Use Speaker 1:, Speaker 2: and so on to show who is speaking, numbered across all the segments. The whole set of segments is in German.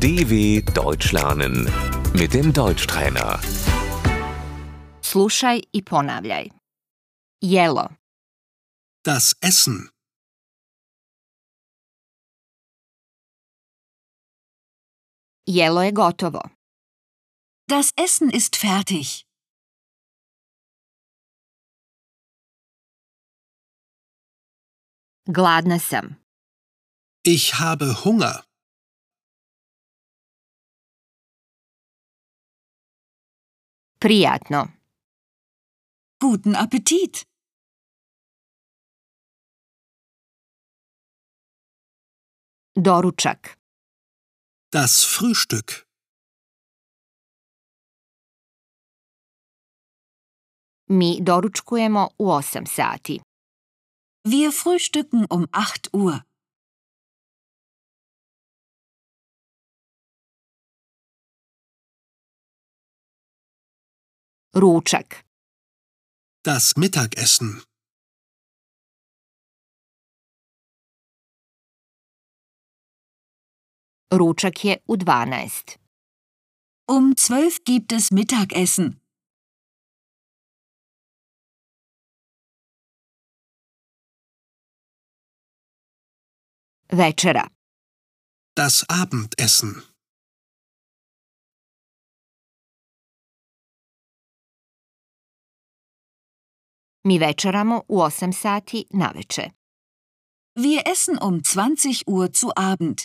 Speaker 1: DW Deutsch lernen mit dem Deutschtrainer.
Speaker 2: Slušaj i ponavljaj. Jelo,
Speaker 3: Das Essen.
Speaker 2: jelo je gotovo.
Speaker 4: Das Essen ist fertig.
Speaker 2: Gladna sam.
Speaker 3: Ich habe Hunger.
Speaker 2: Prijatno.
Speaker 4: Guten Appetit.
Speaker 2: Doručak.
Speaker 3: Das Frühstück.
Speaker 2: Mi doručkujemo u 8 sati.
Speaker 4: Wir frühstücken um 8 Uhr.
Speaker 2: Ručak.
Speaker 3: Das Mittagessen.
Speaker 2: Ručak je u 12.
Speaker 4: Um 12 gibt es Mittagessen.
Speaker 2: Večera.
Speaker 3: Das Abendessen.
Speaker 2: Mi večeramo u 8 sati naveče.
Speaker 4: Wir essen um 20 Uhr zu Abend.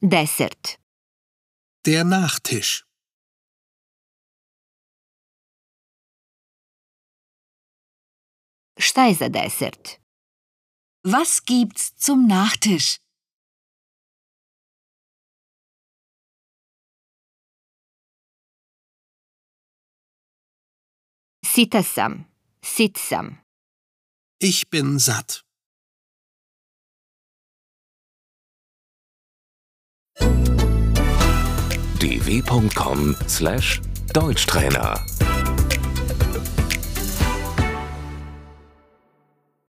Speaker 2: Desert.
Speaker 3: Der Nachtisch.
Speaker 2: Šta je za desert?
Speaker 4: Was gibt's zum Nachtisch?
Speaker 2: Sita sam. Sit sam.
Speaker 3: Ich bin satt.
Speaker 1: dw.com/deutschtrainer